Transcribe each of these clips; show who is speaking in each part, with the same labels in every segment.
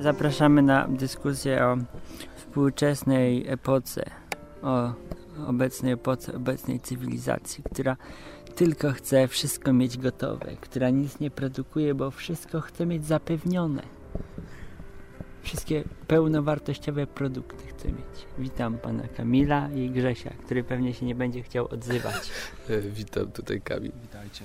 Speaker 1: Zapraszamy na dyskusję o współczesnej epoce, o obecnej epoce, obecnej cywilizacji, która tylko chce wszystko mieć gotowe, która nic nie produkuje, bo wszystko chce mieć zapewnione. Wszystkie pełnowartościowe produkty chce mieć. Witam pana Kamila i Grzesia, który pewnie się nie będzie chciał odzywać.
Speaker 2: E, Witam tutaj Kamil.
Speaker 3: Witajcie.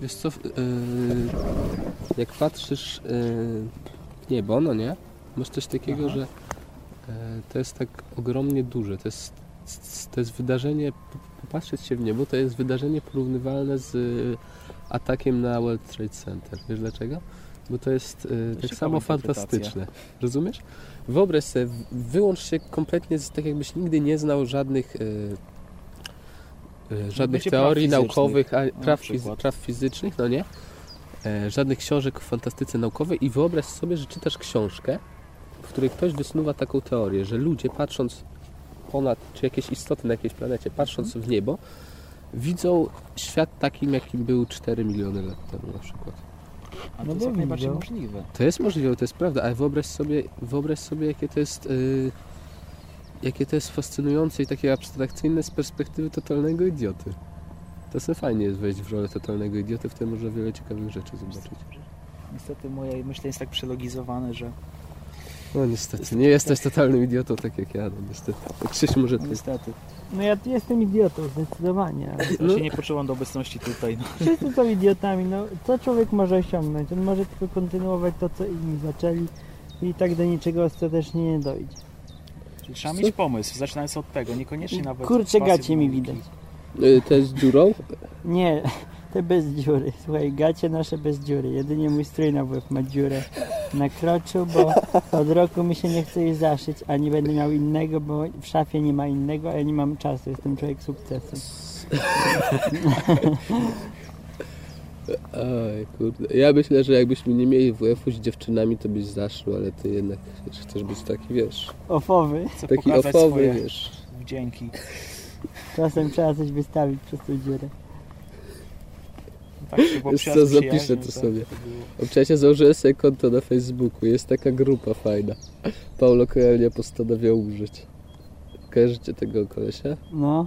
Speaker 2: Wiesz co, w- e, jak patrzysz e, w niebo, no nie? Masz coś takiego,
Speaker 1: Aha.
Speaker 2: że e, to jest tak ogromnie duże. To jest, s- to jest wydarzenie, p- popatrzeć się w niebo, to jest wydarzenie porównywalne z e, atakiem na World Trade Center. Wiesz dlaczego? Bo to jest e, tak
Speaker 3: ciekawa
Speaker 2: samo
Speaker 3: interpretacja.
Speaker 2: fantastyczne. Rozumiesz? Wyobraź sobie, w- wyłącz się kompletnie, z, tak jakbyś nigdy nie znał żadnych, e, e, żadnych
Speaker 3: Bycie praw
Speaker 2: teorii
Speaker 3: fizycznych.
Speaker 2: naukowych, a,
Speaker 3: Na
Speaker 2: praw, fiz,
Speaker 3: przykład.
Speaker 2: praw fizycznych, no nie? E, żadnych książek o fantastyce naukowej i wyobraź sobie, że czytasz książkę, w której ktoś wysnuwa taką teorię, że ludzie patrząc ponad, czy jakieś istoty na jakiejś planecie, patrząc
Speaker 3: Mhm.
Speaker 2: w niebo, widzą świat takim, jakim był 4 miliony lat temu na przykład.
Speaker 3: A to
Speaker 1: No
Speaker 3: jest
Speaker 1: bo
Speaker 3: jak najbardziej
Speaker 1: widział.
Speaker 3: możliwe.
Speaker 2: To jest możliwe, to jest prawda, ale wyobraź sobie, wyobraź sobie jakie to jest... y, Jakie to jest fascynujące i takie abstrakcyjne z perspektywy totalnego idioty. To sobie fajnie jest wejść w rolę totalnego idioty, w tym można wiele ciekawych rzeczy zobaczyć.
Speaker 3: Niestety moje myślenie jest tak przelogizowane, że
Speaker 2: No niestety, nie jesteś totalnym idiotą tak jak ja, no niestety. Krzyś może
Speaker 3: no,
Speaker 2: ty.
Speaker 3: niestety.
Speaker 1: No ja jestem idiotą, zdecydowanie. ale-
Speaker 3: Ja
Speaker 2: No.
Speaker 3: się nie poczułam do obecności tutaj. No.
Speaker 1: Wszyscy są idiotami, no co człowiek może osiągnąć? On może tylko kontynuować to, co inni zaczęli i i tak do niczego ostatecznie nie dojdzie.
Speaker 3: Trzeba mieć pomysł, zaczynając od tego, niekoniecznie nawet...
Speaker 1: Kurczę,
Speaker 3: pasy
Speaker 1: gacie mi
Speaker 3: nauki.
Speaker 1: widać.
Speaker 2: Y, To jest dziurą?
Speaker 1: Nie, te bez dziury. Słuchaj, gacie nasze bez dziury. Jedynie mój strój na łeb ma dziurę na kroczu, bo od roku mi się nie chce jej zaszyć, a nie będę miał innego, bo w szafie nie ma innego, a ja nie mam czasu. Jestem człowiek sukcesu.
Speaker 2: Oj, kurde. Ja myślę, że jakbyśmy nie mieli WF-u z dziewczynami, to byś zaszył, ale ty jednak wiesz, chcesz być taki, wiesz,
Speaker 1: Ofowy.
Speaker 3: Chcę
Speaker 2: taki
Speaker 3: pokazać
Speaker 2: ofowy,
Speaker 3: swoje
Speaker 2: wiesz.
Speaker 3: wdzięki.
Speaker 1: Czasem trzeba coś wystawić przez tą dziurę.
Speaker 3: Tak się było
Speaker 2: Wiesz
Speaker 3: przyjazd
Speaker 2: co,
Speaker 3: z przyjaźnią,
Speaker 2: zapiszę to sobie.
Speaker 3: było.
Speaker 2: Obczas ja założyłem sobie konto na Facebooku, jest taka grupa fajna. Paulo Coelho postanawia umrzeć. Kojarzycie tego kolesia?
Speaker 1: No,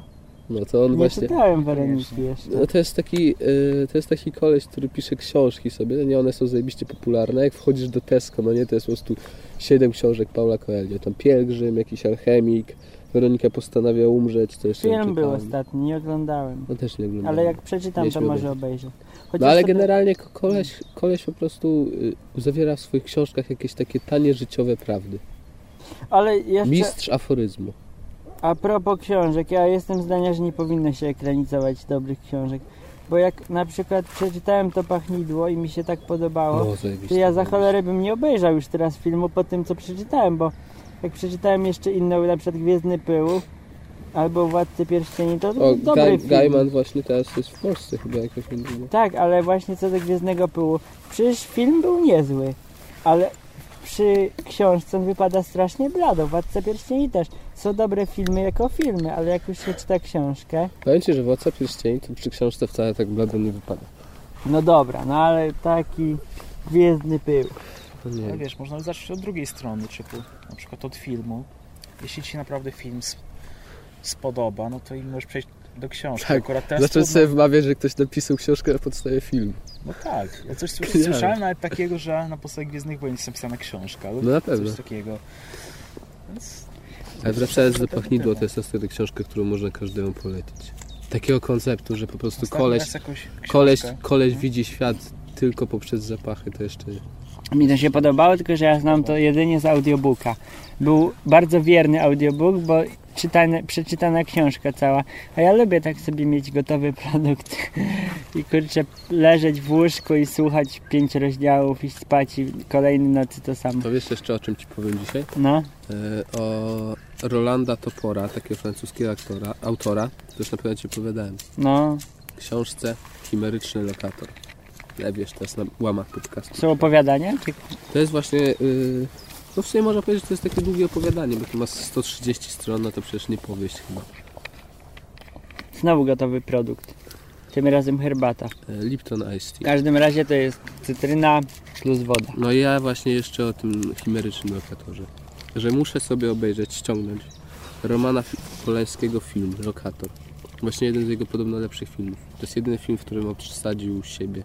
Speaker 2: No to on
Speaker 1: nie
Speaker 2: właśnie...
Speaker 1: czytałem Weroniki jeszcze.
Speaker 2: No to jest taki, y, to jest taki koleś, który pisze książki sobie, no nie, one są zajebiście popularne, jak wchodzisz do Tesco, no nie, to jest po prostu siedem książek Paula Coelho, tam Pielgrzym, jakiś Alchemik, Weronika postanawia umrzeć, to jeszcze nie
Speaker 1: Film był
Speaker 2: czytałem.
Speaker 1: ostatni, nie oglądałem.
Speaker 2: No też nie oglądałem.
Speaker 1: Ale jak przeczytam, to
Speaker 2: Mieliśmy
Speaker 1: może
Speaker 2: obejrzeć.
Speaker 1: obejrzę.
Speaker 2: No ale
Speaker 1: sobie-
Speaker 2: generalnie ko- koleś, koleś po prostu y, zawiera w swoich książkach jakieś takie tanie życiowe prawdy.
Speaker 1: Ale jeszcze
Speaker 2: Mistrz aforyzmu.
Speaker 1: a propos książek, ja jestem zdania, że nie powinno się ekranizować dobrych książek. Bo jak na przykład przeczytałem to pachnidło i mi się tak podobało,
Speaker 2: No zajebiście.
Speaker 1: to ja za cholerę bym nie obejrzał już teraz filmu po tym, co przeczytałem, bo jak przeczytałem jeszcze inne, na przykład Gwiezdny Pył albo Władcy Pierścieni, to, to
Speaker 2: O,
Speaker 1: był dobry
Speaker 2: Ga-
Speaker 1: film.
Speaker 2: Gaiman właśnie teraz jest w Polsce chyba jakoś niedługo.
Speaker 1: Tak, ale właśnie co do Gwiezdnego Pyłu. Przecież film był niezły, ale przy książce on wypada strasznie blado. Władca Pierścieni też. Są dobre filmy jako filmy, ale jak już się czyta książkę...
Speaker 2: Powiem Ci, że Władca Pierścieni to przy książce wcale tak blado nie wypada.
Speaker 1: No dobra, no ale taki Gwiezdny Pył.
Speaker 2: To nie
Speaker 3: No wiesz, można zacząć od drugiej strony, typu na przykład od filmu. Jeśli Ci się naprawdę film s- spodoba, no to i możesz przejść do książki.
Speaker 2: Tak,
Speaker 3: Akurat teraz
Speaker 2: Zacząć
Speaker 3: trudno-
Speaker 2: sobie wmawiać, że ktoś napisał książkę na podstawie filmu.
Speaker 3: No tak, ja coś słys-
Speaker 2: Kojarzę.
Speaker 3: słyszałem nawet takiego, że na podstawie Gwiezdnych Wojen jest napisana książka. lub
Speaker 2: No na pewno.
Speaker 3: Coś takiego. Więc...
Speaker 2: Ale wracając do Pachnidła, to jest ostatnia książka, którą można każdemu polecić. Takiego konceptu, że po prostu
Speaker 3: Ostatni
Speaker 2: koleś,
Speaker 3: raz jakąś książkę.
Speaker 2: koleś, koleś widzi świat tylko poprzez zapachy, to jeszcze nie.
Speaker 1: Mi to się podobało, tylko że ja znam to jedynie z audiobooka. Był bardzo wierny audiobook, bo czytane, przeczytana książka cała. A ja lubię tak sobie mieć gotowy produkt i kurczę, leżeć w łóżku i słuchać pięć rozdziałów i spać i kolejnej nocy to samo.
Speaker 2: To wiesz jeszcze o czym Ci powiem dzisiaj?
Speaker 1: No,
Speaker 2: E, O Rolanda Topora, takiego francuskiego aktora, autora, to już na pewno Ci opowiadałem.
Speaker 1: no,
Speaker 2: książce Chimeryczny Lokator. Ja wiesz, to jest na łamach podcastu.
Speaker 1: są opowiadania? Czy-
Speaker 2: To jest właśnie, yy, no w sumie można powiedzieć, że to jest takie długie opowiadanie, bo to ma 130 stron, no to przecież nie powieść chyba.
Speaker 1: Znowu gotowy produkt. Tym razem herbata.
Speaker 2: E, Lipton Ice
Speaker 1: W
Speaker 2: Tea.
Speaker 1: każdym razie to jest cytryna plus woda.
Speaker 2: No i ja właśnie jeszcze o tym chimerycznym lokatorze. Że muszę sobie obejrzeć, ściągnąć Romana Fi- Polańskiego film, Lokator. Właśnie jeden z jego podobno lepszych filmów. To jest jedyny film, w którym obsadził siebie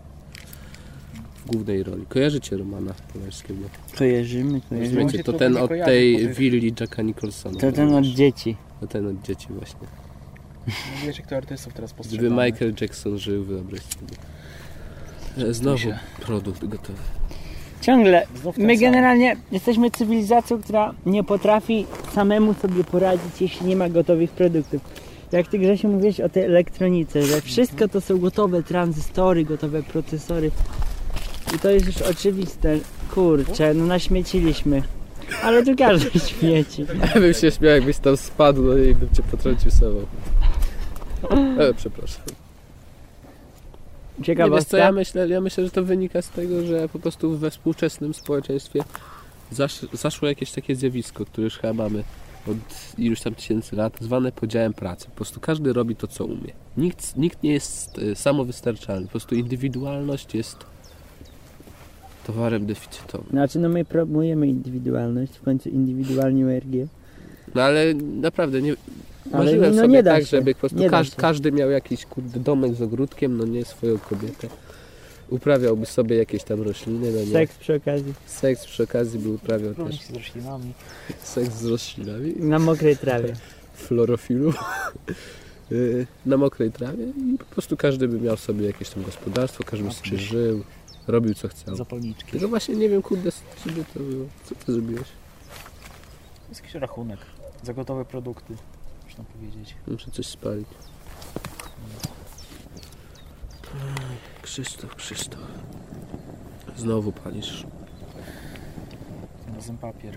Speaker 2: w głównej roli. Kojarzycie Romana Polańskiego?
Speaker 1: Kojarzymy, kojarzymy.
Speaker 2: Rozumiecie? To
Speaker 3: się
Speaker 2: ten
Speaker 3: tylko
Speaker 2: od
Speaker 3: nie kojarzy,
Speaker 2: tej
Speaker 3: bo to-
Speaker 2: willi Jacka Nicholsona.
Speaker 1: To ten od dzieci.
Speaker 2: To ten od dzieci właśnie.
Speaker 3: Nie wiecie, kto artystów teraz postrzega.
Speaker 2: Gdyby Michael Jackson żył, wyobraź sobie. E, Znowu
Speaker 3: się.
Speaker 2: produkt gotowy.
Speaker 1: Ciągle.
Speaker 3: Znów tak ten
Speaker 1: My
Speaker 3: sam.
Speaker 1: generalnie jesteśmy cywilizacją, która nie potrafi samemu sobie poradzić, jeśli nie ma gotowych produktów. Jak ty Grzesiu mówiłeś o tej elektronice, że wszystko to są gotowe tranzystory, gotowe procesory. I to jest już oczywiste. Kurczę, no naśmieciliśmy. Ale tu każdy śmieci.
Speaker 2: Ja bym się śmiał, jakbyś tam spadł no i bym cię potrącił sobą. E, przepraszam. Nie, wiesz co,
Speaker 1: Ciekawostka.
Speaker 2: ja myślę, ja myślę, że to wynika z tego, że po prostu we współczesnym społeczeństwie zasz, zaszło jakieś takie zjawisko, które już chyba mamy od iluś tam tysięcy lat, zwane podziałem pracy. Po prostu każdy robi to, co umie. Nikt, nikt nie jest e, samowystarczalny. Po prostu indywidualność jest towarem deficytowym.
Speaker 1: Znaczy, no my promujemy indywidualność, w końcu indywidualnie URG.
Speaker 2: No ale naprawdę nie.
Speaker 1: Ale
Speaker 2: Marzyłem
Speaker 1: no
Speaker 2: sobie
Speaker 1: nie da
Speaker 2: tak,
Speaker 1: się,
Speaker 2: żeby po prostu
Speaker 1: nie da
Speaker 2: każ,
Speaker 1: się.
Speaker 2: każdy miał jakiś kurde domek z ogródkiem, no nie swoją kobietę. Uprawiałby sobie jakieś tam rośliny, no nie.
Speaker 1: Seks przy okazji.
Speaker 2: Seks przy okazji by uprawiał też
Speaker 3: Równik z roślinami.
Speaker 2: seks z roślinami,
Speaker 1: Na mokrej trawie.
Speaker 2: florofilu y, na mokrej trawie i po prostu każdy by miał sobie jakieś tam gospodarstwo, każdy by
Speaker 3: A
Speaker 2: sobie
Speaker 3: przecież-
Speaker 2: żył, robił co chciał.
Speaker 3: Zapalniczki.
Speaker 2: Tylko właśnie nie wiem, kurde, sobie to było. Co ty zrobiłeś?
Speaker 3: To jest jakiś rachunek za gotowe produkty, można powiedzieć.
Speaker 2: Muszę coś spalić. Ej, Krzysztof, Krzysztof. Znowu palisz.
Speaker 3: Tym razem papier.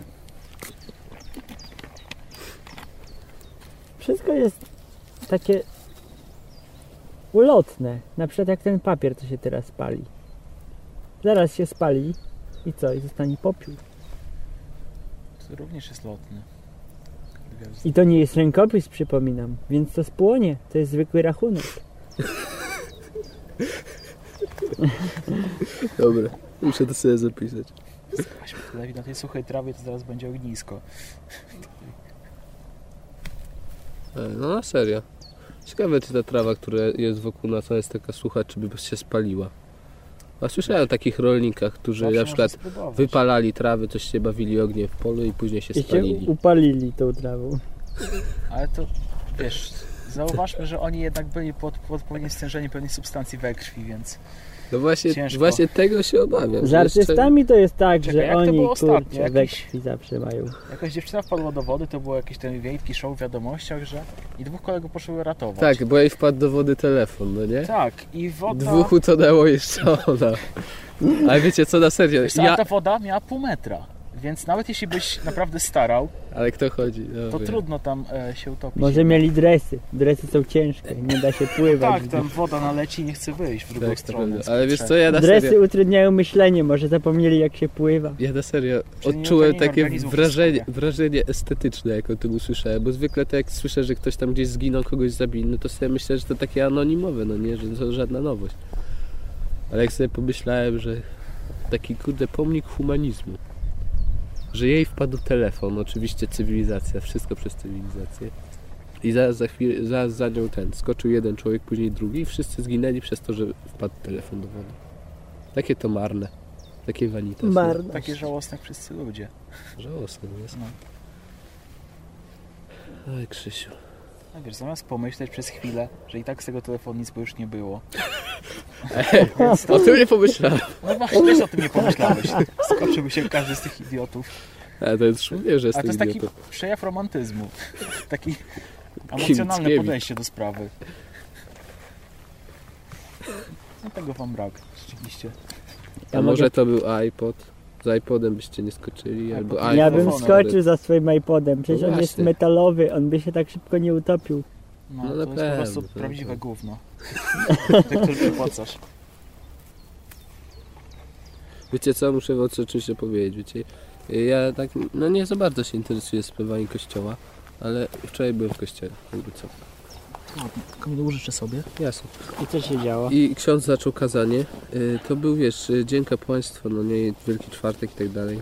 Speaker 1: Wszystko jest takie ulotne. Na przykład jak ten papier, co się teraz pali. Zaraz się spali i co? I zostanie popiół.
Speaker 3: To również jest lotny. Gwiazd-
Speaker 1: I to nie jest rękopis, przypominam. Więc to spłonie. To jest zwykły rachunek.
Speaker 2: Dobra, muszę to sobie zapisać.
Speaker 3: Aśmy tutaj na tej suchej trawie to zaraz będzie ognisko.
Speaker 2: Ej, No na serio. Ciekawe, czy ta trawa, która jest wokół nas, ona jest taka sucha, czy by się spaliła. A słyszałem o takich rolnikach, którzy
Speaker 3: Zawsze
Speaker 2: na
Speaker 3: można
Speaker 2: przykład
Speaker 3: spróbować.
Speaker 2: wypalali trawy, coś się bawili ogniem w polu i później się
Speaker 1: I się
Speaker 2: spalili.
Speaker 1: upalili tą trawą.
Speaker 3: Ale to wiesz, zauważmy, że oni jednak byli pod, pod odpowiednim stężeniem pewnych substancji we krwi, więc
Speaker 2: No właśnie,
Speaker 3: Ciężko.
Speaker 2: właśnie tego się obawiam.
Speaker 1: Z
Speaker 2: że jeszcze-
Speaker 1: artystami to jest tak,
Speaker 3: Czekaj,
Speaker 1: że
Speaker 3: jak to
Speaker 1: oni
Speaker 3: było ostatnio?
Speaker 1: kurczę we
Speaker 3: Jakiś-
Speaker 1: krwi zawsze mają.
Speaker 3: jakaś dziewczyna wpadła do wody, to było jakieś ten wielki show w wiadomościach, że i dwóch kolegów poszło ratować.
Speaker 2: Tak, bo jej wpadł do wody telefon, no nie?
Speaker 3: Tak, i woda...
Speaker 2: Dwóch utonęło jeszcze ona. Ale wiecie co, na serio,
Speaker 3: Wiesz, co, ale
Speaker 2: ja...
Speaker 3: ta woda miała pół metra, więc nawet jeśli byś naprawdę starał,
Speaker 2: Ale kto chodzi? No,
Speaker 3: to
Speaker 2: wiem.
Speaker 3: trudno tam e, się utopić.
Speaker 1: Może mieli dresy. Dresy są ciężkie, nie da się pływać.
Speaker 3: Tak, tam woda naleci i nie chce wyjść w drugą
Speaker 2: Tak, to
Speaker 3: stronę.
Speaker 2: prawda. Ale wiesz co, ja na serio...
Speaker 1: Dresy utrudniają myślenie, może zapomnieli jak się pływa.
Speaker 2: Ja na serio
Speaker 3: Czyli
Speaker 2: odczułem
Speaker 3: utlenienie
Speaker 2: takie
Speaker 3: organizmu
Speaker 2: wrażenie,
Speaker 3: wszystkiego.
Speaker 2: wrażenie estetyczne, jak o tym usłyszałem, bo zwykle to jak słyszę, że ktoś tam gdzieś zginął, kogoś zabił, no to sobie myślę, że to takie anonimowe, no nie, że to żadna nowość. Ale jak sobie pomyślałem, że taki kurde pomnik humanizmu, że jej wpadł telefon, oczywiście cywilizacja, wszystko przez cywilizację. I zaraz za, chwilę, zaraz za nią ten, skoczył jeden człowiek, później drugi i wszyscy zginęli przez to, że wpadł telefon do wody. Takie to marne, takie vanitas.
Speaker 1: Marność.
Speaker 3: Takie żałosne jak wszyscy ludzie.
Speaker 2: Żałosny jest.
Speaker 3: No.
Speaker 2: Oj, Krzysiu.
Speaker 3: No wiesz, zamiast pomyśleć przez chwilę, że i tak z tego telefonu nic by już nie było.
Speaker 2: O tym nie pomyślałem.
Speaker 3: No właśnie, też o tym nie pomyślałeś. Skoczyłby się każdy z tych idiotów.
Speaker 2: Ale to już mówię, że
Speaker 3: A to
Speaker 2: jestem
Speaker 3: jest taki
Speaker 2: idiotą.
Speaker 3: przejaw romantyzmu. Taki emocjonalne
Speaker 2: Mickiewicz.
Speaker 3: podejście do sprawy. No tego wam brak, rzeczywiście.
Speaker 2: A
Speaker 1: Ja
Speaker 2: może
Speaker 1: mogę-
Speaker 2: to był iPod? Z iPodem byście nie skoczyli, albo
Speaker 3: Ja
Speaker 2: iPhone.
Speaker 1: Ja
Speaker 3: iPhone'em.
Speaker 1: bym skoczył za swoim iPodem, przecież
Speaker 2: No
Speaker 1: on jest
Speaker 2: właśnie.
Speaker 1: metalowy, on by się tak szybko nie utopił.
Speaker 3: No,
Speaker 2: No
Speaker 3: to
Speaker 2: na
Speaker 3: jest po prostu
Speaker 2: pewno, to tak. na
Speaker 3: prawdziwe
Speaker 2: pewno.
Speaker 3: gówno. Tak Ty, który przepłacasz.
Speaker 2: Wiecie co, muszę wam o czymś powiedzieć, wiecie. Ja tak, no nie za bardzo się interesuję spływaniem kościoła, ale wczoraj byłem w kościele, jakby co.
Speaker 3: Ładnie. Kamilu, użyczę sobie.
Speaker 2: Jasne.
Speaker 1: I co się działo?
Speaker 2: I ksiądz zaczął kazanie. Y, To był, wiesz, y, Dzień Kapłaństwa, no nie, Wielki Czwartek i tak dalej.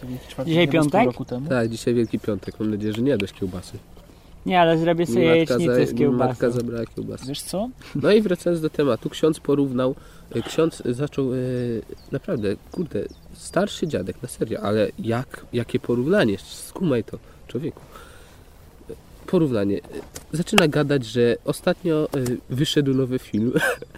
Speaker 3: To Wielki Czwartek
Speaker 1: Dzisiaj
Speaker 3: nie był z pół
Speaker 1: piątek?
Speaker 3: Roku temu.
Speaker 2: Tak, dzisiaj Wielki Piątek. Mam nadzieję, że nie jadłeś kiełbasy.
Speaker 1: Nie, ale zrobię sobie jajecznicę z
Speaker 2: za- matka
Speaker 1: kiełbasą.
Speaker 2: zabrała kiełbasy.
Speaker 3: Wiesz co?
Speaker 2: No i wracając do tematu, ksiądz porównał, y, ksiądz zaczął, y, naprawdę, kurde, starszy dziadek, na serio, ale jak, jakie porównanie, skumaj to, człowieku. Porównanie. Zaczyna gadać, że ostatnio y, wyszedł nowy film.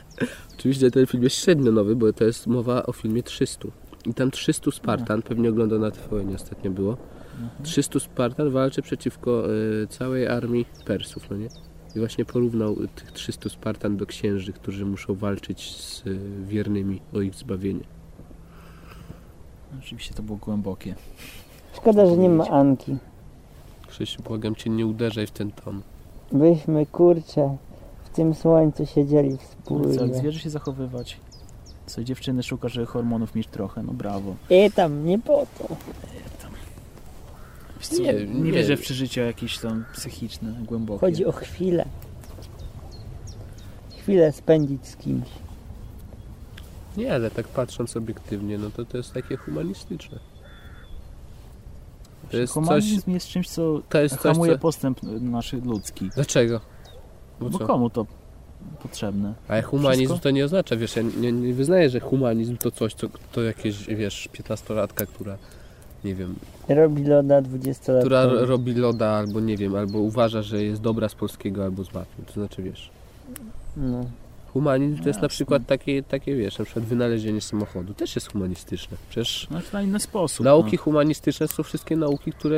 Speaker 2: Oczywiście ten film jest średnio nowy, bo to jest mowa o filmie 300. I tam 300 Spartan, pewnie oglądał na TVN ostatnio było.
Speaker 3: No,
Speaker 2: 300 Spartan walczy przeciwko y, całej armii Persów, no nie? I właśnie porównał tych 300 Spartan do księży, którzy muszą walczyć z y, wiernymi o ich zbawienie.
Speaker 3: Oczywiście to było głębokie.
Speaker 1: Szkoda, że nie ma Anki.
Speaker 2: Krzysiu, błagam cię, nie uderzaj w ten ton.
Speaker 1: Byśmy, kurczę, w tym słońcu siedzieli
Speaker 3: Co, jak
Speaker 1: wspólnie.
Speaker 3: zwierzę się zachowywać? Co, dziewczyny szuka, że hormonów mieć trochę, no brawo.
Speaker 1: I tam, nie po to.
Speaker 3: Wiesz co,
Speaker 2: Nie,
Speaker 3: nie, nie,
Speaker 2: nie.
Speaker 3: wierzę w przeżycia jakieś tam psychiczne, głębokie.
Speaker 1: Chodzi o chwilę. Chwilę spędzić z kimś.
Speaker 2: Nie, ale tak patrząc obiektywnie, no to to jest takie humanistyczne. To jest coś...
Speaker 3: Humanizm jest czymś, co
Speaker 2: To jest coś,
Speaker 3: hamuje
Speaker 2: co...
Speaker 3: postęp nasz ludzki.
Speaker 2: Dlaczego?
Speaker 3: Bo komu to potrzebne?
Speaker 2: Ale humanizm
Speaker 3: Wszystko?
Speaker 2: to nie oznacza, wiesz, ja nie, nie wyznaję, że humanizm to coś, co, to jakieś, wiesz, piętnastolatka, która, nie wiem,
Speaker 1: Robi loda 20 lat.
Speaker 2: która ro- robi loda albo, nie wiem, albo uważa, że jest dobra z polskiego albo z mafii. To znaczy, wiesz,
Speaker 1: No.
Speaker 2: humanizm to jest na
Speaker 3: Jasne.
Speaker 2: przykład takie, takie, wiesz, na przykład wynalezienie samochodu też jest humanistyczne. Przecież
Speaker 3: Znaczy na inny sposób. Znaczy
Speaker 2: nauki humanistyczne są wszystkie nauki, które,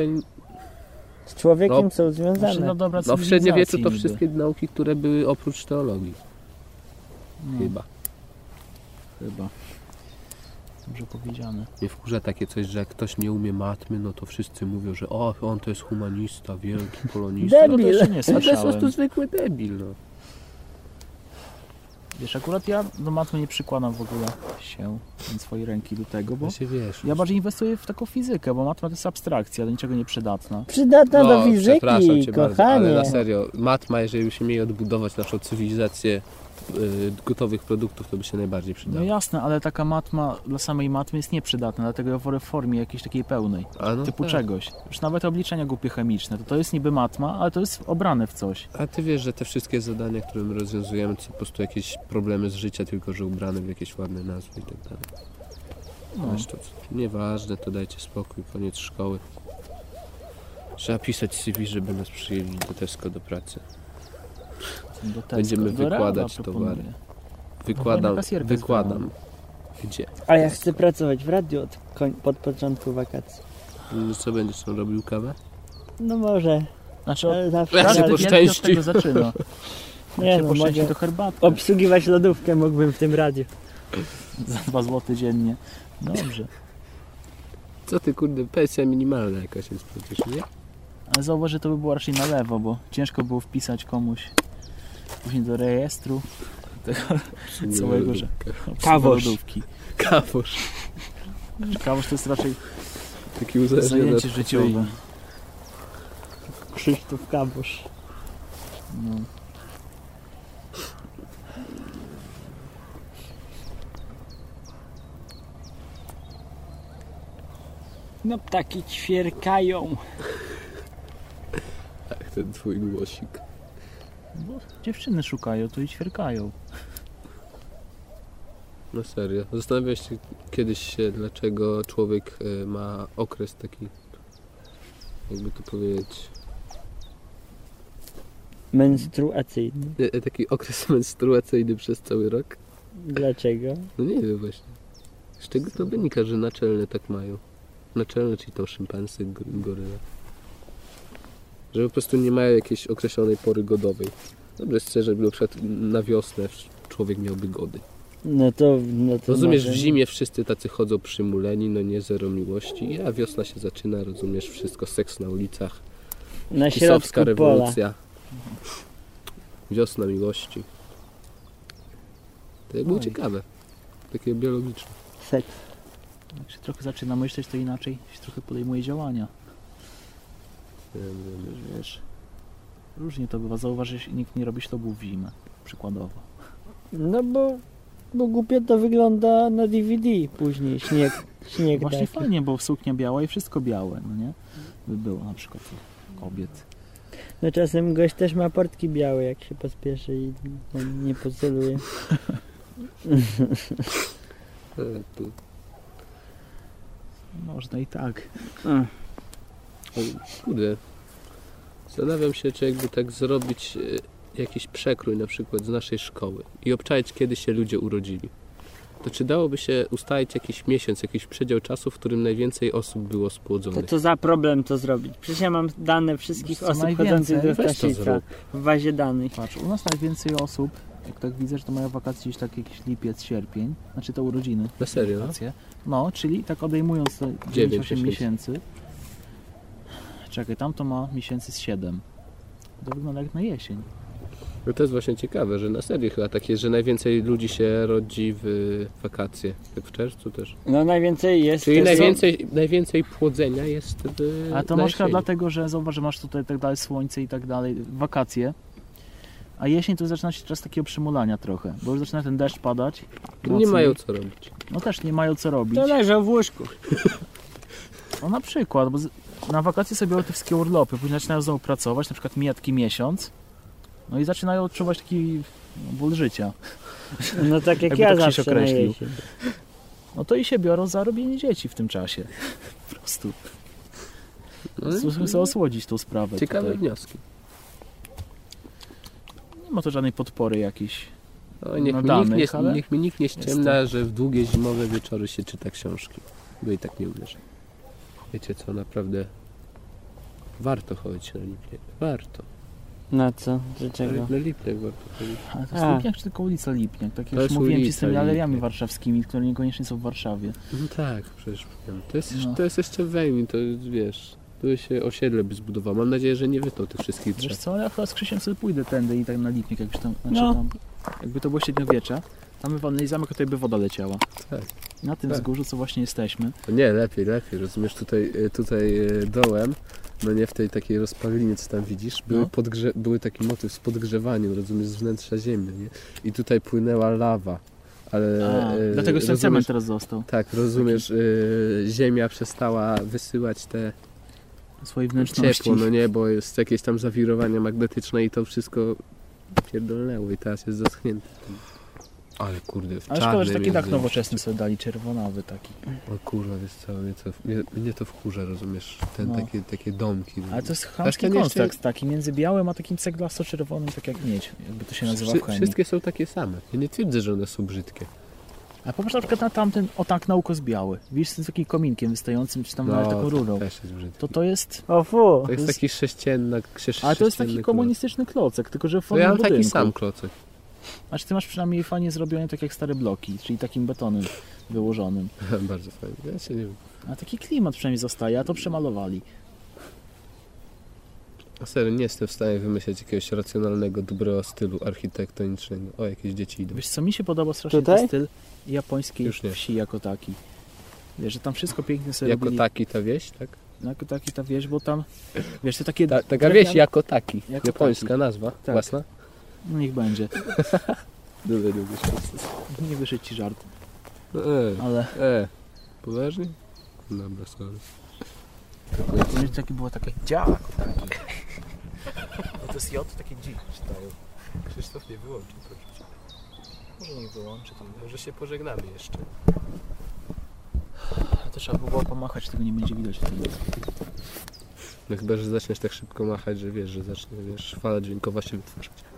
Speaker 1: Z człowiekiem
Speaker 2: No.
Speaker 1: są
Speaker 3: no. Znaczy,
Speaker 1: związane.
Speaker 3: no, dobra,
Speaker 2: no w średniowieczu to
Speaker 3: cywilizacji niby.
Speaker 2: wszystkie nauki, które były oprócz teologii,
Speaker 3: No,
Speaker 2: chyba.
Speaker 3: Chyba. Dobrze powiedziane.
Speaker 2: Mnie wkurza takie coś, że jak ktoś nie umie matmy, no to wszyscy mówią, że o, on to jest humanista, wielki polonista.
Speaker 1: Debil.
Speaker 3: No to jeszcze
Speaker 2: A
Speaker 3: nie
Speaker 2: to jest po
Speaker 3: słyszałem.
Speaker 2: prostu zwykły debil, no.
Speaker 3: Wiesz, akurat ja do matmy nie przykładam w ogóle się ani swojej ręki do tego, bo
Speaker 2: Ja się wiesz.
Speaker 3: ja bardziej inwestuję w taką fizykę, bo matma to jest abstrakcja, do niczego nieprzydatna.
Speaker 1: Przydatna No, do
Speaker 2: No, przepraszam
Speaker 1: fizyki,
Speaker 2: cię bardzo, ale
Speaker 1: kochanie.
Speaker 2: na serio, matma, jeżeli byśmy mieli odbudować naszą cywilizację y, gotowych produktów, to by się najbardziej
Speaker 3: No
Speaker 2: przydało.
Speaker 3: jasne, ale taka matma dla samej matmy jest nieprzydatna, dlatego ja wolę w formie jakiejś takiej pełnej,
Speaker 2: A no
Speaker 3: typu
Speaker 2: tak.
Speaker 3: czegoś. Już nawet obliczenia głupie chemiczne, to to jest niby matma, ale to jest obrane w coś.
Speaker 2: A ty wiesz, że te wszystkie zadania, które my rozwiązujemy, to po prostu jakieś problemy z życia, tylko że ubrane w jakieś ładne nazwy i tak dalej.
Speaker 3: No.
Speaker 2: Wiesz, to nieważne, to dajcie spokój, koniec szkoły. Trzeba pisać CV, żeby nas przyjęli do Tesco do pracy.
Speaker 3: Do Tesco,
Speaker 2: Będziemy
Speaker 3: do Reala
Speaker 2: wykładać
Speaker 3: proponuję.
Speaker 2: towary.
Speaker 1: No,
Speaker 2: Wykładam,
Speaker 3: kasjerkę
Speaker 2: wykładam. Gdzie?
Speaker 1: Ale ja chcę pracować w radiu od koń- pod początku wakacji.
Speaker 2: No Co będziesz tam robił kawę?
Speaker 1: No może,
Speaker 3: Znaczy, od-
Speaker 1: ale zawsze. tak.
Speaker 2: Ja się
Speaker 3: każdy
Speaker 1: Ale,
Speaker 2: po-
Speaker 3: wielki od
Speaker 2: poszczęści.
Speaker 3: tego zaczyna.
Speaker 1: Nie,
Speaker 3: Jak się
Speaker 1: no,
Speaker 3: poszczęści,
Speaker 1: mogę-
Speaker 3: to herbatę.
Speaker 1: obsługiwać lodówkę mógłbym w tym radiu.
Speaker 3: Za 2 zł dziennie. Dobrze.
Speaker 2: Co ty kurde, pensja minimalna jakaś jest przecież, nie?
Speaker 3: Ale zauważ, że to by było raczej na lewo, bo ciężko było wpisać komuś później do rejestru Całego, że-
Speaker 1: Kawosz.
Speaker 3: lodówki.
Speaker 2: Kawosz.
Speaker 3: Kawosz to jest raczej
Speaker 2: Taki uzależniony
Speaker 3: zajęcie
Speaker 2: od
Speaker 3: życiowe.
Speaker 2: kofeiny.
Speaker 1: Krzysztof Kabusz.
Speaker 3: No.
Speaker 1: No ptaki ćwierkają.
Speaker 2: Tak, ten twój głosik.
Speaker 3: Bo dziewczyny szukają, to i ćwierkają.
Speaker 2: No serio. Zastanawiałeś się kiedyś się, dlaczego człowiek y, ma okres taki, jakby to powiedzieć,
Speaker 1: Menstruacyjny.
Speaker 2: y, y, taki okres menstruacyjny przez cały rok?
Speaker 1: Dlaczego?
Speaker 2: No nie wiem właśnie. Z czego to wynika, że naczelne tak mają? Naczelne, czyli tam szympansy, gor- goryle. Że po prostu nie mają jakiejś określonej pory godowej. Dobrze jest szczerze, żeby na przykład na wiosnę człowiek miałby gody.
Speaker 1: No to. No to
Speaker 2: Rozumiesz,
Speaker 1: może-
Speaker 2: w zimie wszyscy tacy chodzą przymuleni, no nie zero miłości, a wiosna się zaczyna, rozumiesz, wszystko, seks na ulicach,
Speaker 1: Na
Speaker 2: pisowska
Speaker 1: środku pola.
Speaker 2: rewolucja, wiosna miłości. To było
Speaker 3: Oj.
Speaker 2: ciekawe, takie biologiczne.
Speaker 1: Seks.
Speaker 3: Jak się trochę zaczyna myśleć, to inaczej się trochę podejmuje działania.
Speaker 2: Wiem, wiem,
Speaker 3: Wiesz, Różnie to bywa. Zauważysz, że nikt nie robi ślubu w zimę, przykładowo.
Speaker 4: No bo, bo głupio to wygląda na DVD później, śnieg, śnieg
Speaker 3: Właśnie
Speaker 4: taki.
Speaker 3: fajnie, bo suknia biała i wszystko białe, no nie? By było na przykład u kobiet.
Speaker 4: No czasem gość też ma portki białe, jak się pospieszy i no, nie poceluje.
Speaker 2: E, tu.
Speaker 3: Można i tak.
Speaker 1: Mm.
Speaker 2: O, Kurde. Zastanawiam się, czy jakby tak zrobić e, jakiś przekrój na przykład z naszej szkoły i obczaić, kiedy się ludzie urodzili. To czy dałoby się ustalić jakiś miesiąc, jakiś przedział czasu, w którym najwięcej osób było
Speaker 1: To
Speaker 2: spłodzonych?
Speaker 1: co za problem to zrobić? Przecież ja mam dane wszystkich
Speaker 3: Co
Speaker 1: osób
Speaker 3: najwięcej,
Speaker 1: chodzących do
Speaker 3: weź
Speaker 2: to
Speaker 1: Staszica
Speaker 2: zrób.
Speaker 1: w bazie danych.
Speaker 3: Patrz, u nas najwięcej osób, jak tak widzę, że to mają wakacje gdzieś tak jakiś lipiec, sierpień, znaczy to urodziny.
Speaker 2: Na serio?
Speaker 3: Wakacje. No, czyli tak odejmując te
Speaker 2: 9
Speaker 3: 9-8 miesięcy. Czekaj, tam to ma miesięcy z 7. To wygląda jak na jesień.
Speaker 2: No to jest właśnie ciekawe, że na serio chyba tak jest, że najwięcej ludzi się rodzi w wakacje. Jak w czerwcu też.
Speaker 1: No najwięcej jest.
Speaker 2: Czyli
Speaker 1: też-
Speaker 2: najwięcej, najwięcej płodzenia jest w
Speaker 3: A to
Speaker 2: Yy, na
Speaker 3: masz chyba
Speaker 2: jesieni.
Speaker 3: dlatego, że zobacz, że masz tutaj tak dalej słońce i tak dalej, wakacje. A jesień to zaczyna się czas takiego przymulania trochę, bo już zaczyna ten deszcz padać.
Speaker 2: Nie
Speaker 3: mocniej.
Speaker 2: mają co robić.
Speaker 3: No też nie mają co robić.
Speaker 1: To leżą w łóżku.
Speaker 3: No na przykład, bo z- na wakacje sobie biorą te wszystkie urlopy, później zaczynają znowu pracować, na przykład mija taki miesiąc. No i zaczynają odczuwać taki no, ból życia.
Speaker 4: No tak jak
Speaker 3: Jakby
Speaker 4: ja
Speaker 3: to Krzyś
Speaker 4: zawsze na
Speaker 3: określił.
Speaker 4: jesień.
Speaker 3: No to i się biorą za robienie dzieci w tym czasie. Po prostu.
Speaker 2: No,
Speaker 3: Chcą sobie osłodzić tą sprawę.
Speaker 2: ciekawe
Speaker 3: tutaj.
Speaker 2: wnioski.
Speaker 3: Nie ma to żadnej podpory jakiejś.
Speaker 2: No, niech,
Speaker 3: No
Speaker 2: mi
Speaker 3: danych,
Speaker 2: nikt nie,
Speaker 3: ale
Speaker 2: niech mi nikt nie ściemna,
Speaker 3: jestem.
Speaker 2: że w długie zimowe wieczory się czyta książki. Bo i tak nie uwierzę. Wiecie co, naprawdę warto chodzić na Lipniak. Warto.
Speaker 1: Na co? Do czego?
Speaker 2: Na Lipniak warto chodzić.
Speaker 3: Ale to jest
Speaker 1: A.
Speaker 3: Lipniak czy tylko ulica Lipniak? Tak
Speaker 2: To
Speaker 3: jak już
Speaker 2: jest
Speaker 3: mówiłem ci z
Speaker 2: ulica
Speaker 3: tymi alejami
Speaker 2: Lipniak.
Speaker 3: warszawskimi, które niekoniecznie są w Warszawie.
Speaker 2: No tak, przecież wiem. To jest,
Speaker 3: No.
Speaker 2: to jest jeszcze wejmi, to wiesz... Tu się osiedle by zbudowało. Mam nadzieję, że nie wytną tych wszystkich
Speaker 3: Wiesz
Speaker 2: drzew.
Speaker 3: co, ja chyba z Krzysiem sobie pójdę tędy i tak na Lipniak jakbyś tam, znaczy
Speaker 1: No.
Speaker 3: tam jakby to było średniowiecze, tam by walnęli zamek, a tutaj by woda leciała.
Speaker 2: Tak.
Speaker 3: Na tym
Speaker 2: Tak.
Speaker 3: wzgórzu, co właśnie jesteśmy.
Speaker 2: O No Nie, lepiej, lepiej. Rozumiesz, tutaj, y, tutaj y, dołem, no nie w tej takiej rozpalinie, co tam widzisz, były,
Speaker 3: No.
Speaker 2: podgrze- były taki motyw z podgrzewaniem, rozumiesz, z wnętrza ziemi, nie? I tutaj płynęła lawa, ale...
Speaker 3: A,
Speaker 2: y,
Speaker 3: dlatego jest ten
Speaker 2: rozumiesz-
Speaker 3: cement teraz został.
Speaker 2: Tak, rozumiesz, y, ziemia przestała wysyłać te
Speaker 3: Swojej wnętrzności.
Speaker 2: ciepło, no nie, bo jest jakieś tam zawirowania magnetyczne i to wszystko pierdolnęło i teraz jest zaschnięte. Ale kurde, w
Speaker 3: Ale szkoda, że
Speaker 2: czarnym
Speaker 3: taki dach
Speaker 2: jest, nie?
Speaker 3: nowoczesny sobie dali, czerwonawy taki.
Speaker 2: O kurwa, wiesz co, mnie to, mnie, mnie to wkurza, rozumiesz, ten,
Speaker 3: No.
Speaker 2: takie, takie domki.
Speaker 3: Ale to jest
Speaker 2: Aż
Speaker 3: chamski
Speaker 2: ten jeszcze-
Speaker 3: kontrakt taki, między białym a takim ceglasto-czerwonym, tak jak miedź, jakby to się nazywa w
Speaker 2: Wszy-
Speaker 3: chemii.
Speaker 2: Wszystkie są takie same. Ja nie twierdzę, że one są brzydkie.
Speaker 3: A popatrz na przykład na tamten, o tak, na ukos biały. Widzisz, z tym takim kominkiem wystającym, czy tam nawet No, taką
Speaker 2: to
Speaker 3: rurą.
Speaker 2: No, Też jest brzydkie.
Speaker 3: To
Speaker 2: To,
Speaker 3: to jest,
Speaker 4: O fu!
Speaker 2: jest
Speaker 3: jest-
Speaker 2: taki sześcienna, krzyż
Speaker 3: ale to jest taki
Speaker 2: sześcienny
Speaker 3: komunistyczny klocek, tylko że w
Speaker 2: klocek. To ja mam
Speaker 3: formie
Speaker 2: taki
Speaker 3: budynku.
Speaker 2: sam klocek.
Speaker 3: Znaczy ty masz przynajmniej fajnie zrobione tak jak stare bloki, czyli takim betonem wyłożonym.
Speaker 2: Bardzo fajny. Ja się nie wiem.
Speaker 3: A taki klimat przynajmniej zostaje, a to przemalowali.
Speaker 2: A serio, nie jestem w stanie wymyśleć jakiegoś racjonalnego, dobrego stylu architektonicznego. O, jakieś dzieci idą.
Speaker 3: Wiesz co, mi się podoba strasznie
Speaker 4: Tutaj?
Speaker 3: ten styl japońskiej
Speaker 2: Już nie.
Speaker 3: wsi jako taki. Wiesz, że tam wszystko pięknie sobie
Speaker 2: Jako
Speaker 3: robili.
Speaker 2: taki ta wieś, tak?
Speaker 3: No, Jako taki ta wieś, bo tam, wiesz, to takie...
Speaker 2: Ta, taka
Speaker 3: drewniane-
Speaker 2: wieś jako taki.
Speaker 3: Jako
Speaker 2: Japońska
Speaker 3: taki.
Speaker 2: nazwa.
Speaker 3: Tak.
Speaker 2: Własna?
Speaker 3: No niech będzie.
Speaker 2: Dobra, dobra. śmieszne.
Speaker 3: Nie wyszedł ci żart,
Speaker 2: No, e,
Speaker 3: ale...
Speaker 2: e. Poważnie? Dobra, sorry.
Speaker 3: Wiesz, takie było takie dział jako taki. No to jest J, takie dzi czytają.
Speaker 2: Krzysztof nie wyłączył, proszę cię.
Speaker 3: Może niech wyłączy tam.
Speaker 2: Może się pożegnamy jeszcze.
Speaker 3: Ale to trzeba by było pomachać, tego nie będzie widać wtedy.
Speaker 2: No chyba, że zaczniesz tak szybko machać, że wiesz, że zacznie, wiesz, fala dźwiękowa się wytwarzać.